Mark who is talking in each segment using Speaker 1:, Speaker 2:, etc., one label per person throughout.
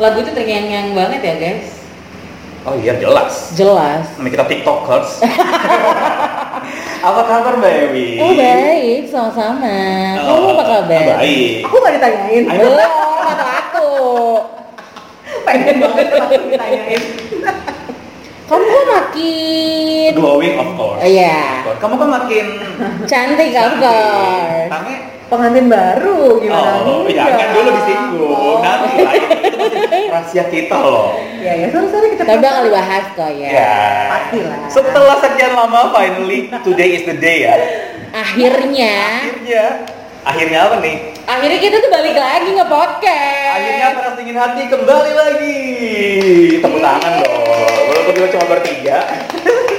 Speaker 1: lagu itu terngiang-ngiang banget ya guys
Speaker 2: Oh iya jelas.
Speaker 1: jelas
Speaker 2: Ini kita tiktokers. apa kabar Baby?
Speaker 1: oh baik sama-sama kamu apa kabar
Speaker 2: Oh, Baik.
Speaker 3: Aku nggak ditanyain.
Speaker 2: Ayo.
Speaker 1: belum kata aku
Speaker 3: Pengen banget langsung
Speaker 2: ya,
Speaker 3: ditanyain.
Speaker 1: kamu kok makin
Speaker 2: Glowing of course.
Speaker 1: Iya.
Speaker 2: Kamu kan makin
Speaker 1: cantik of course
Speaker 2: Tapi
Speaker 3: Pengantin baru gimana?
Speaker 2: Oh,
Speaker 3: enggak?
Speaker 2: ya kan dulu disinggung.
Speaker 1: Oh.
Speaker 2: Nanti lah itu masih rahasia kita loh.
Speaker 3: Ya ya, sorry sorry kita.
Speaker 1: tapi bakal dibahas kok ya
Speaker 2: Ya.
Speaker 3: Pastilah.
Speaker 2: Setelah sekian lama finally today is the day ya.
Speaker 1: akhirnya
Speaker 2: Akhirnya akhirnya apa nih?
Speaker 1: akhirnya kita tuh balik lagi nge podcast
Speaker 2: Akhirnya peras dingin hati kembali lagi. Tepuk tangan dong. Walaupun kita cuma bertiga.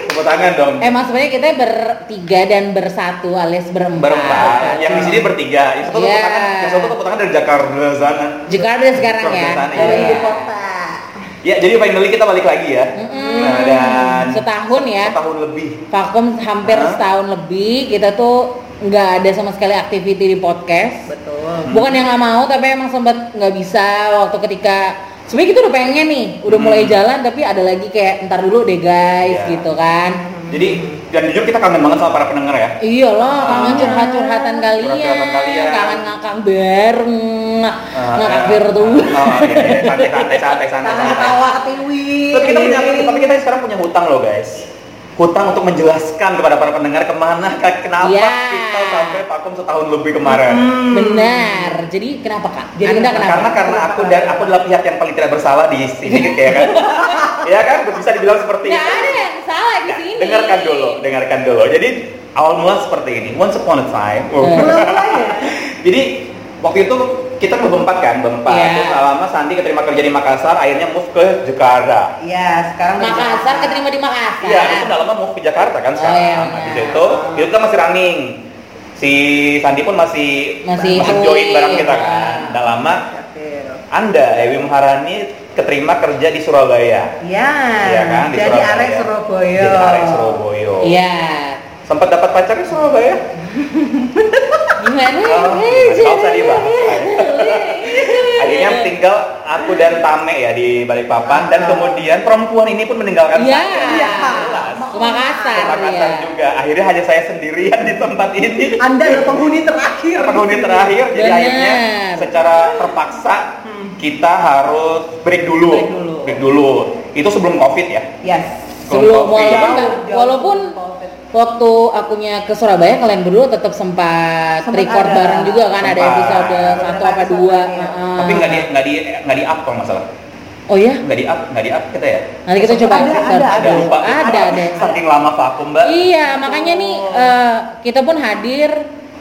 Speaker 2: Tepuk tangan dong.
Speaker 1: emang sebenarnya Eh, kita bertiga dan bersatu alias berempat
Speaker 2: Berempat. Yang di sini bertiga. Yang satu
Speaker 1: Iya.
Speaker 2: tepuk tangan, yang satu tepuk tangan dari Jakarta sana.
Speaker 1: Jakarta sekarang ya
Speaker 2: Jakarta,
Speaker 3: Dari
Speaker 2: iya.
Speaker 3: ibu kota.
Speaker 2: Ya, jadi finally kita balik lagi ya.
Speaker 1: Mm-mm.
Speaker 2: Nah, dan
Speaker 1: Setahun ya.
Speaker 2: Setahun lebih.
Speaker 1: vakum hampir
Speaker 2: Hah?
Speaker 1: setahun lebih kita tuh nggak ada sama sekali activity di podcast
Speaker 3: Betul.
Speaker 2: Hmm.
Speaker 1: bukan yang nggak mau tapi emang sempat nggak bisa waktu ketika sebenarnya kita udah pengen nih udah mulai
Speaker 2: Hmm.
Speaker 1: jalan tapi ada lagi kayak ntar dulu deh guys
Speaker 2: Iya.
Speaker 1: gitu kan
Speaker 2: Jadi dan jujur kita kangen banget sama para pendengar ya.
Speaker 1: iyalah kangen
Speaker 2: Ah.
Speaker 1: curhat-curhatan kalian,
Speaker 2: Curhat-curhatan kalian.
Speaker 1: kangen ngakak bareng
Speaker 2: Ah,
Speaker 1: ngakak
Speaker 2: ya.
Speaker 1: virtual
Speaker 2: Ah, iya, iya. santai santai santai santai.
Speaker 3: Tangan
Speaker 2: santai.
Speaker 3: ketawa ketiwi.
Speaker 2: Tapi kita punya tapi kita sekarang punya hutang loh guys. Hutang untuk menjelaskan kepada para pendengar kemana kenapa
Speaker 1: Iya.
Speaker 2: kita sampai vakum setahun lebih kemarin.
Speaker 3: Hmm.
Speaker 1: benar jadi kenapa kak
Speaker 3: Jadi
Speaker 1: anda
Speaker 3: kenapa?
Speaker 1: kenapa
Speaker 2: karena karena aku dan aku adalah pihak yang paling tidak bersalah di sini ya kan ya kan bisa dibilang seperti
Speaker 1: nggak
Speaker 2: itu
Speaker 1: ada yang salah di
Speaker 2: Nah,
Speaker 1: sini
Speaker 2: Iya. dengarkan dulu dengarkan dulu jadi awal mula seperti ini once upon a time
Speaker 1: Hmm.
Speaker 3: Belum mulai ya.
Speaker 2: jadi waktu itu kita ke berempat kan berempat
Speaker 1: Iya.
Speaker 2: terus lama Sandi keterima kerja di Makassar akhirnya move ke Jakarta
Speaker 3: Iya sekarang. udah
Speaker 1: Makassar
Speaker 3: jalan.
Speaker 1: keterima di Makassar
Speaker 2: iya itu udah lama move ke Jakarta kan
Speaker 1: Oh, iya,
Speaker 2: sekarang di
Speaker 1: benar.
Speaker 2: situ itu kan masih running si Sandi pun masih
Speaker 1: Masih
Speaker 2: join
Speaker 1: join,
Speaker 2: bareng kita
Speaker 1: iya.
Speaker 2: kan udah lama
Speaker 3: Capil.
Speaker 2: Anda Ewi Maharani keterima kerja di Surabaya
Speaker 3: Iya.
Speaker 1: Ah,
Speaker 2: Iya kan, di
Speaker 3: Jadi
Speaker 2: Surabaya.
Speaker 3: arek Surabaya.
Speaker 2: Jadi arek Surabaya.
Speaker 1: Iya.
Speaker 2: Sempat dapat pacar di Surabaya?
Speaker 1: Gimana?
Speaker 2: Oh, nggak usah dibahas. Akhirnya tinggal aku dan Tame ya di Balikpapan dan kemudian perempuan ini pun meninggalkan
Speaker 1: Ah. Iya.
Speaker 2: saya. Jelas.
Speaker 1: Ke Makassar.
Speaker 2: Ke Makassar
Speaker 1: iya.
Speaker 2: juga. Akhirnya hanya saya sendirian di tempat ini.
Speaker 3: Anda adalah penghuni terakhir.
Speaker 2: Penghuni terakhir jadi
Speaker 1: Benar.
Speaker 2: akhirnya secara terpaksa kita harus break dulu.
Speaker 3: Break dulu.
Speaker 2: Break dulu. Itu sebelum Covid ya.
Speaker 3: Yes.
Speaker 1: Sebelum
Speaker 2: Covid.
Speaker 1: walaupun
Speaker 3: Jauh,
Speaker 1: nggak-
Speaker 3: jauh
Speaker 1: walaupun
Speaker 3: sebelum Covid.
Speaker 1: waktu akunya ke Surabaya kalian berdua tetap sempat,
Speaker 3: Sempat
Speaker 1: record
Speaker 3: ada.
Speaker 1: bareng juga kan ada
Speaker 2: Sempat.
Speaker 1: episode satu
Speaker 3: Beberapa
Speaker 1: apa
Speaker 3: episode,
Speaker 1: dua.
Speaker 3: iya.
Speaker 1: Heeh.
Speaker 2: Tapi nggak di nggak di nggak di up kalau masalah.
Speaker 1: Oh ya,
Speaker 2: Nggak di up nggak di up kita ya.
Speaker 1: nanti kita coba
Speaker 3: Ada,
Speaker 1: record.
Speaker 3: ada,
Speaker 2: Ada lupa.
Speaker 1: ada, ada.
Speaker 2: Saking lama vakum mbak.
Speaker 1: Iya, makanya nih eh, kita pun hadir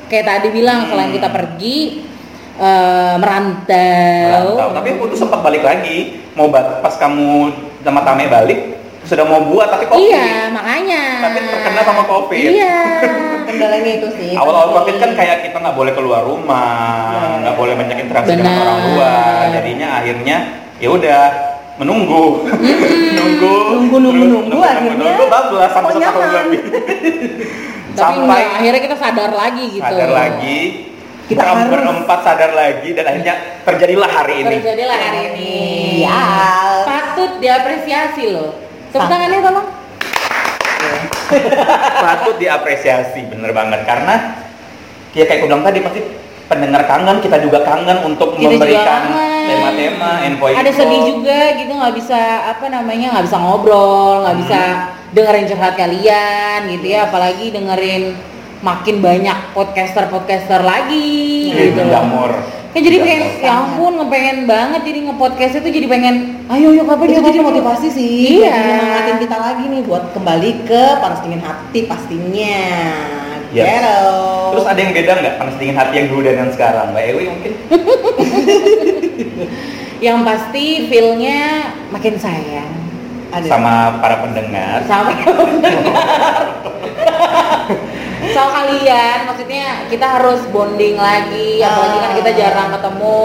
Speaker 1: kayak tadi bilang selain
Speaker 2: Oh. Hmm.
Speaker 1: kita pergi eh, merantau.
Speaker 2: Merantau. Tapi aku tuh sempat balik lagi. Mau ba- pas kamu sama Tame balik sudah mau buat tapi covid.
Speaker 1: Iya, makanya.
Speaker 2: Tapi terkena sama Covid.
Speaker 1: Iya.
Speaker 3: Kendalanya itu sih.
Speaker 2: Awal-awal covid kan kayak kita nggak boleh keluar rumah, nggak boleh banyak interaksi dengan
Speaker 1: Benar.
Speaker 2: orang luar. Jadinya akhirnya ya udah menunggu, nunggu,
Speaker 3: Nunggu, nunggu,
Speaker 2: terus
Speaker 3: nunggu, akhirnya
Speaker 2: nunggu, bablas sampai
Speaker 3: kok
Speaker 2: setahun
Speaker 3: nyaman.
Speaker 2: lebih.
Speaker 1: Tapi enggak, akhirnya kita sadar lagi gitu.
Speaker 2: sadar lagi
Speaker 3: Kita
Speaker 2: kita
Speaker 3: harus.
Speaker 2: berempat sadar lagi dan akhirnya terjadilah hari ini
Speaker 1: Terjadilah hari ini.
Speaker 3: Ya.
Speaker 1: Iya. Patut diapresiasi loh. Tepuk tangannya tolong.
Speaker 2: patut diapresiasi bener banget karena ya kayak aku bilang tadi pasti pendengar kangen kita juga kangen untuk
Speaker 1: Kita juga
Speaker 2: memberikan
Speaker 1: kangen.
Speaker 2: tema-tema info
Speaker 1: Ada sedih juga gitu nggak bisa apa namanya nggak bisa ngobrol, nggak bisa dengerin curhat kalian gitu ya, apalagi dengerin makin banyak podcaster-podcaster lagi
Speaker 2: Iya,
Speaker 1: gitu loh.
Speaker 2: jamur
Speaker 1: Kan jadi pengen, ya ampun, pengen banget jadi nge-podcast itu jadi pengen, ayo yuk apa
Speaker 3: itu
Speaker 1: dia
Speaker 3: jadi motivasi sih
Speaker 1: Iya.
Speaker 3: buat nyemangatin kita lagi nih buat kembali ke panas dingin hati pastinya
Speaker 2: Yes.
Speaker 3: Hello.
Speaker 2: Iya. terus ada yang beda nggak panas dingin hati yang dulu dan yang sekarang mbak Ewi mungkin
Speaker 1: Yang pasti feel-nya makin sayang.
Speaker 3: ada
Speaker 2: sama para pendengar
Speaker 1: sama so kalian maksudnya kita harus bonding lagi apalagi kan kita jarang ketemu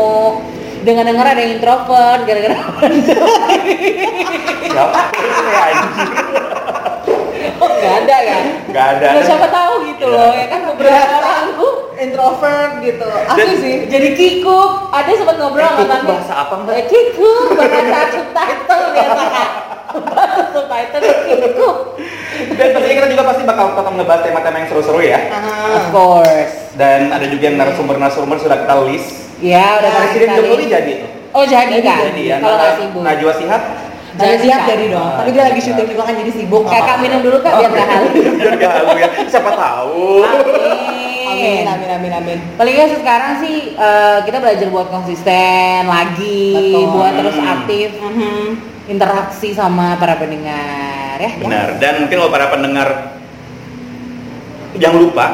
Speaker 1: dengan dengar ada yang introvert gara-gara
Speaker 2: siapa ya anjing
Speaker 1: oh nggak ada ya
Speaker 2: nggak ada
Speaker 1: Nggak siapa tahu gitu loh ya kan beberapa ya orang tuh
Speaker 3: introvert gitu asli
Speaker 2: Dan-
Speaker 3: sih
Speaker 1: Jadi kikuk, ada sempat ngobrol sama
Speaker 2: Kikuk
Speaker 1: Tami.
Speaker 2: Eh, bahasa apa, Mbak?
Speaker 1: Eh, Kikuk, bahasa subtitle biasa kan. Bahasa subtitle kikuk.
Speaker 2: Dan pastinya kita juga pasti bakal tetap ngebahas tema-tema yang seru-seru ya.
Speaker 1: Of
Speaker 3: Ah.
Speaker 1: course.
Speaker 2: Dan ada juga yang narasumber-narasumber sudah kita list.
Speaker 1: Ya, udah
Speaker 3: Nah,
Speaker 1: pasti
Speaker 2: Presiden
Speaker 1: kali.
Speaker 2: Jokowi jadi tuh.
Speaker 1: Oh, jadi kan?
Speaker 2: Jadi ya.
Speaker 1: Kalau nggak
Speaker 2: Nah,
Speaker 1: sibuk.
Speaker 2: Najwa Shihab
Speaker 3: jadi siap
Speaker 1: Kak.
Speaker 3: jadi dong
Speaker 2: Ah,
Speaker 3: tapi
Speaker 2: iya,
Speaker 3: dia lagi syuting juga kan jadi sibuk nggak
Speaker 1: Kakak
Speaker 3: apa-apa.
Speaker 1: minum dulu Kak biar gak halu.
Speaker 2: biar gak halu ya. Siapa tahu.
Speaker 3: amin
Speaker 1: Amin.
Speaker 3: amin amin amin
Speaker 1: Paling nggak sekarang sih eh, kita belajar buat konsisten lagi,
Speaker 3: Betul.
Speaker 1: buat terus
Speaker 2: Hmm.
Speaker 1: aktif interaksi sama para pendengar ya.
Speaker 2: Benar. Dan mungkin kalau para pendengar jangan lupa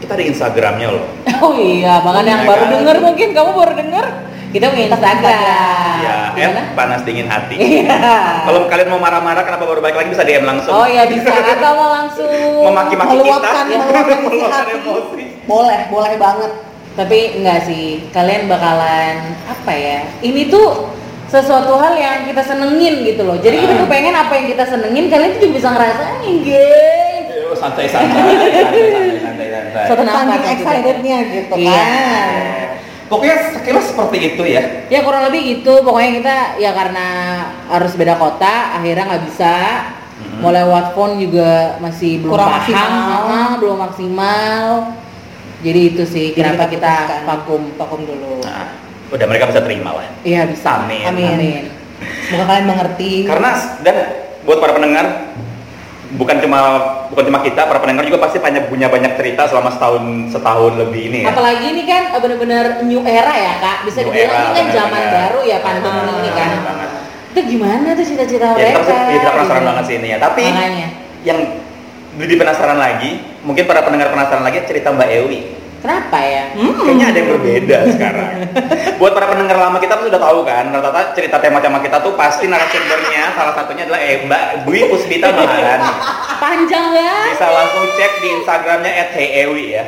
Speaker 2: kita ada Instagramnya loh.
Speaker 1: Oh iya, bahkan yang
Speaker 2: Iya
Speaker 1: baru
Speaker 2: kan?
Speaker 1: denger mungkin kamu baru denger kita punya Instagram.
Speaker 2: Ya,
Speaker 1: Di mana?
Speaker 2: at panas dingin hati.
Speaker 1: Ah, Iya.
Speaker 2: Kalau kalian mau marah-marah kenapa baru balik lagi bisa DM langsung.
Speaker 1: Oh iya bisa atau mau langsung
Speaker 2: Memaki-maki kita. ya.
Speaker 3: meluapkan meluapkan isi
Speaker 2: Meluapkan
Speaker 3: hati
Speaker 2: emosi.
Speaker 3: boleh boleh banget
Speaker 1: Tapi enggak sih, kalian bakalan apa ya? Ini tuh sesuatu hal yang kita senengin gitu loh. Jadi kita
Speaker 2: Ah.
Speaker 1: tuh pengen apa yang kita senengin kalian tuh juga bisa ngerasain, gitu. geng.
Speaker 2: Yo, santai santai santai santai santai
Speaker 1: Satu
Speaker 2: santai.
Speaker 1: Kenapa tuh
Speaker 3: saking
Speaker 1: kita?
Speaker 3: excitednya gitu
Speaker 1: Iya.
Speaker 3: kan
Speaker 2: Pokoknya sekilas seperti itu ya.
Speaker 1: Ya kurang lebih gitu, pokoknya kita ya karena harus beda kota, akhirnya nggak bisa.
Speaker 2: Mhm.
Speaker 1: Mau lewat phone juga masih belum
Speaker 3: Kurang
Speaker 1: paham,
Speaker 3: maksimal.
Speaker 1: ah, belum maksimal. Jadi itu sih
Speaker 3: Jadi
Speaker 1: kenapa kita
Speaker 3: putuskan.
Speaker 1: vakum.
Speaker 3: vakum dulu
Speaker 2: Nah, udah mereka bisa terima lah.
Speaker 1: Iya bisa.
Speaker 2: Amin.
Speaker 1: Amin.
Speaker 3: semoga kalian mengerti
Speaker 2: Karena dan buat para pendengar bukan cuma bukan cuma kita, para pendengar juga pasti punya punya banyak cerita selama setahun setahun lebih ini ya.
Speaker 1: Apalagi ini kan eh, bener-bener new era ya kak, bisa
Speaker 2: New
Speaker 1: dibilang
Speaker 2: era,
Speaker 1: ini kan zaman
Speaker 2: bener-bener. iya.
Speaker 1: baru ya pandemi
Speaker 2: Ah,
Speaker 1: ini kan.
Speaker 2: bener banget.
Speaker 1: Itu gimana tuh cita-cita
Speaker 2: Ya
Speaker 1: mereka?
Speaker 2: kita pasti kita penasaran
Speaker 1: gitu.
Speaker 2: banget sih ini ya. Tapi
Speaker 1: Makanya.
Speaker 2: yang lebih penasaran lagi, mungkin para pendengar penasaran lagi cerita Mbak Ewi.
Speaker 1: Kenapa ya?
Speaker 2: Kayaknya ada yang berbeda sekarang. Buat para pendengar lama kita tuh sudah tahu kan, rata-rata cerita tema-tema kita tuh pasti narasumbernya salah satunya adalah eh, Mbak Dwi Puspita Maharani.
Speaker 1: Panjang banget.
Speaker 2: Bisa langsung cek di Instagramnya @heyewi ya.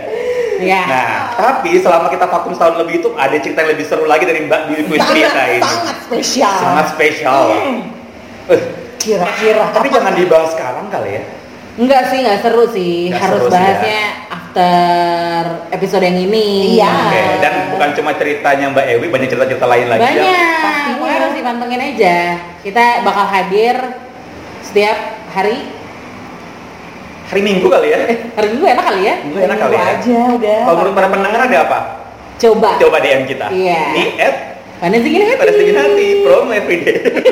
Speaker 1: Ya.
Speaker 2: Nah, tapi selama kita vakum setahun lebih itu ada cerita yang lebih seru lagi dari Mbak Dwi Puspita
Speaker 3: sangat
Speaker 2: ini.
Speaker 3: sangat spesial
Speaker 2: Sangat spesial. Eh,
Speaker 3: kira-kira
Speaker 2: tapi
Speaker 3: apa
Speaker 2: jangan dibahas sekarang kali ya.
Speaker 1: Enggak sih, enggak seru sih.
Speaker 2: Nggak
Speaker 1: Harus
Speaker 2: seru sih, ya.
Speaker 1: bahasnya after episode yang ini. Nah,
Speaker 3: Iya.
Speaker 2: Oke, dan bukan cuma ceritanya Mbak Ewi, banyak cerita-cerita lain lagi
Speaker 1: Banyak.
Speaker 2: yang
Speaker 1: Pokoknya
Speaker 3: Pastinya.
Speaker 1: harus dipantengin aja. Kita bakal hadir setiap hari.
Speaker 2: hari Minggu kali ya.
Speaker 1: Hari Minggu enak kali ya?
Speaker 2: Minggu enak kali ya.
Speaker 3: aja udah
Speaker 2: Kalau menurut para pendengar ada apa?
Speaker 1: Coba.
Speaker 2: Coba DM kita
Speaker 1: Iya.
Speaker 2: di at
Speaker 1: Panas dingin hati.
Speaker 2: pada sedikit hati promo everyday.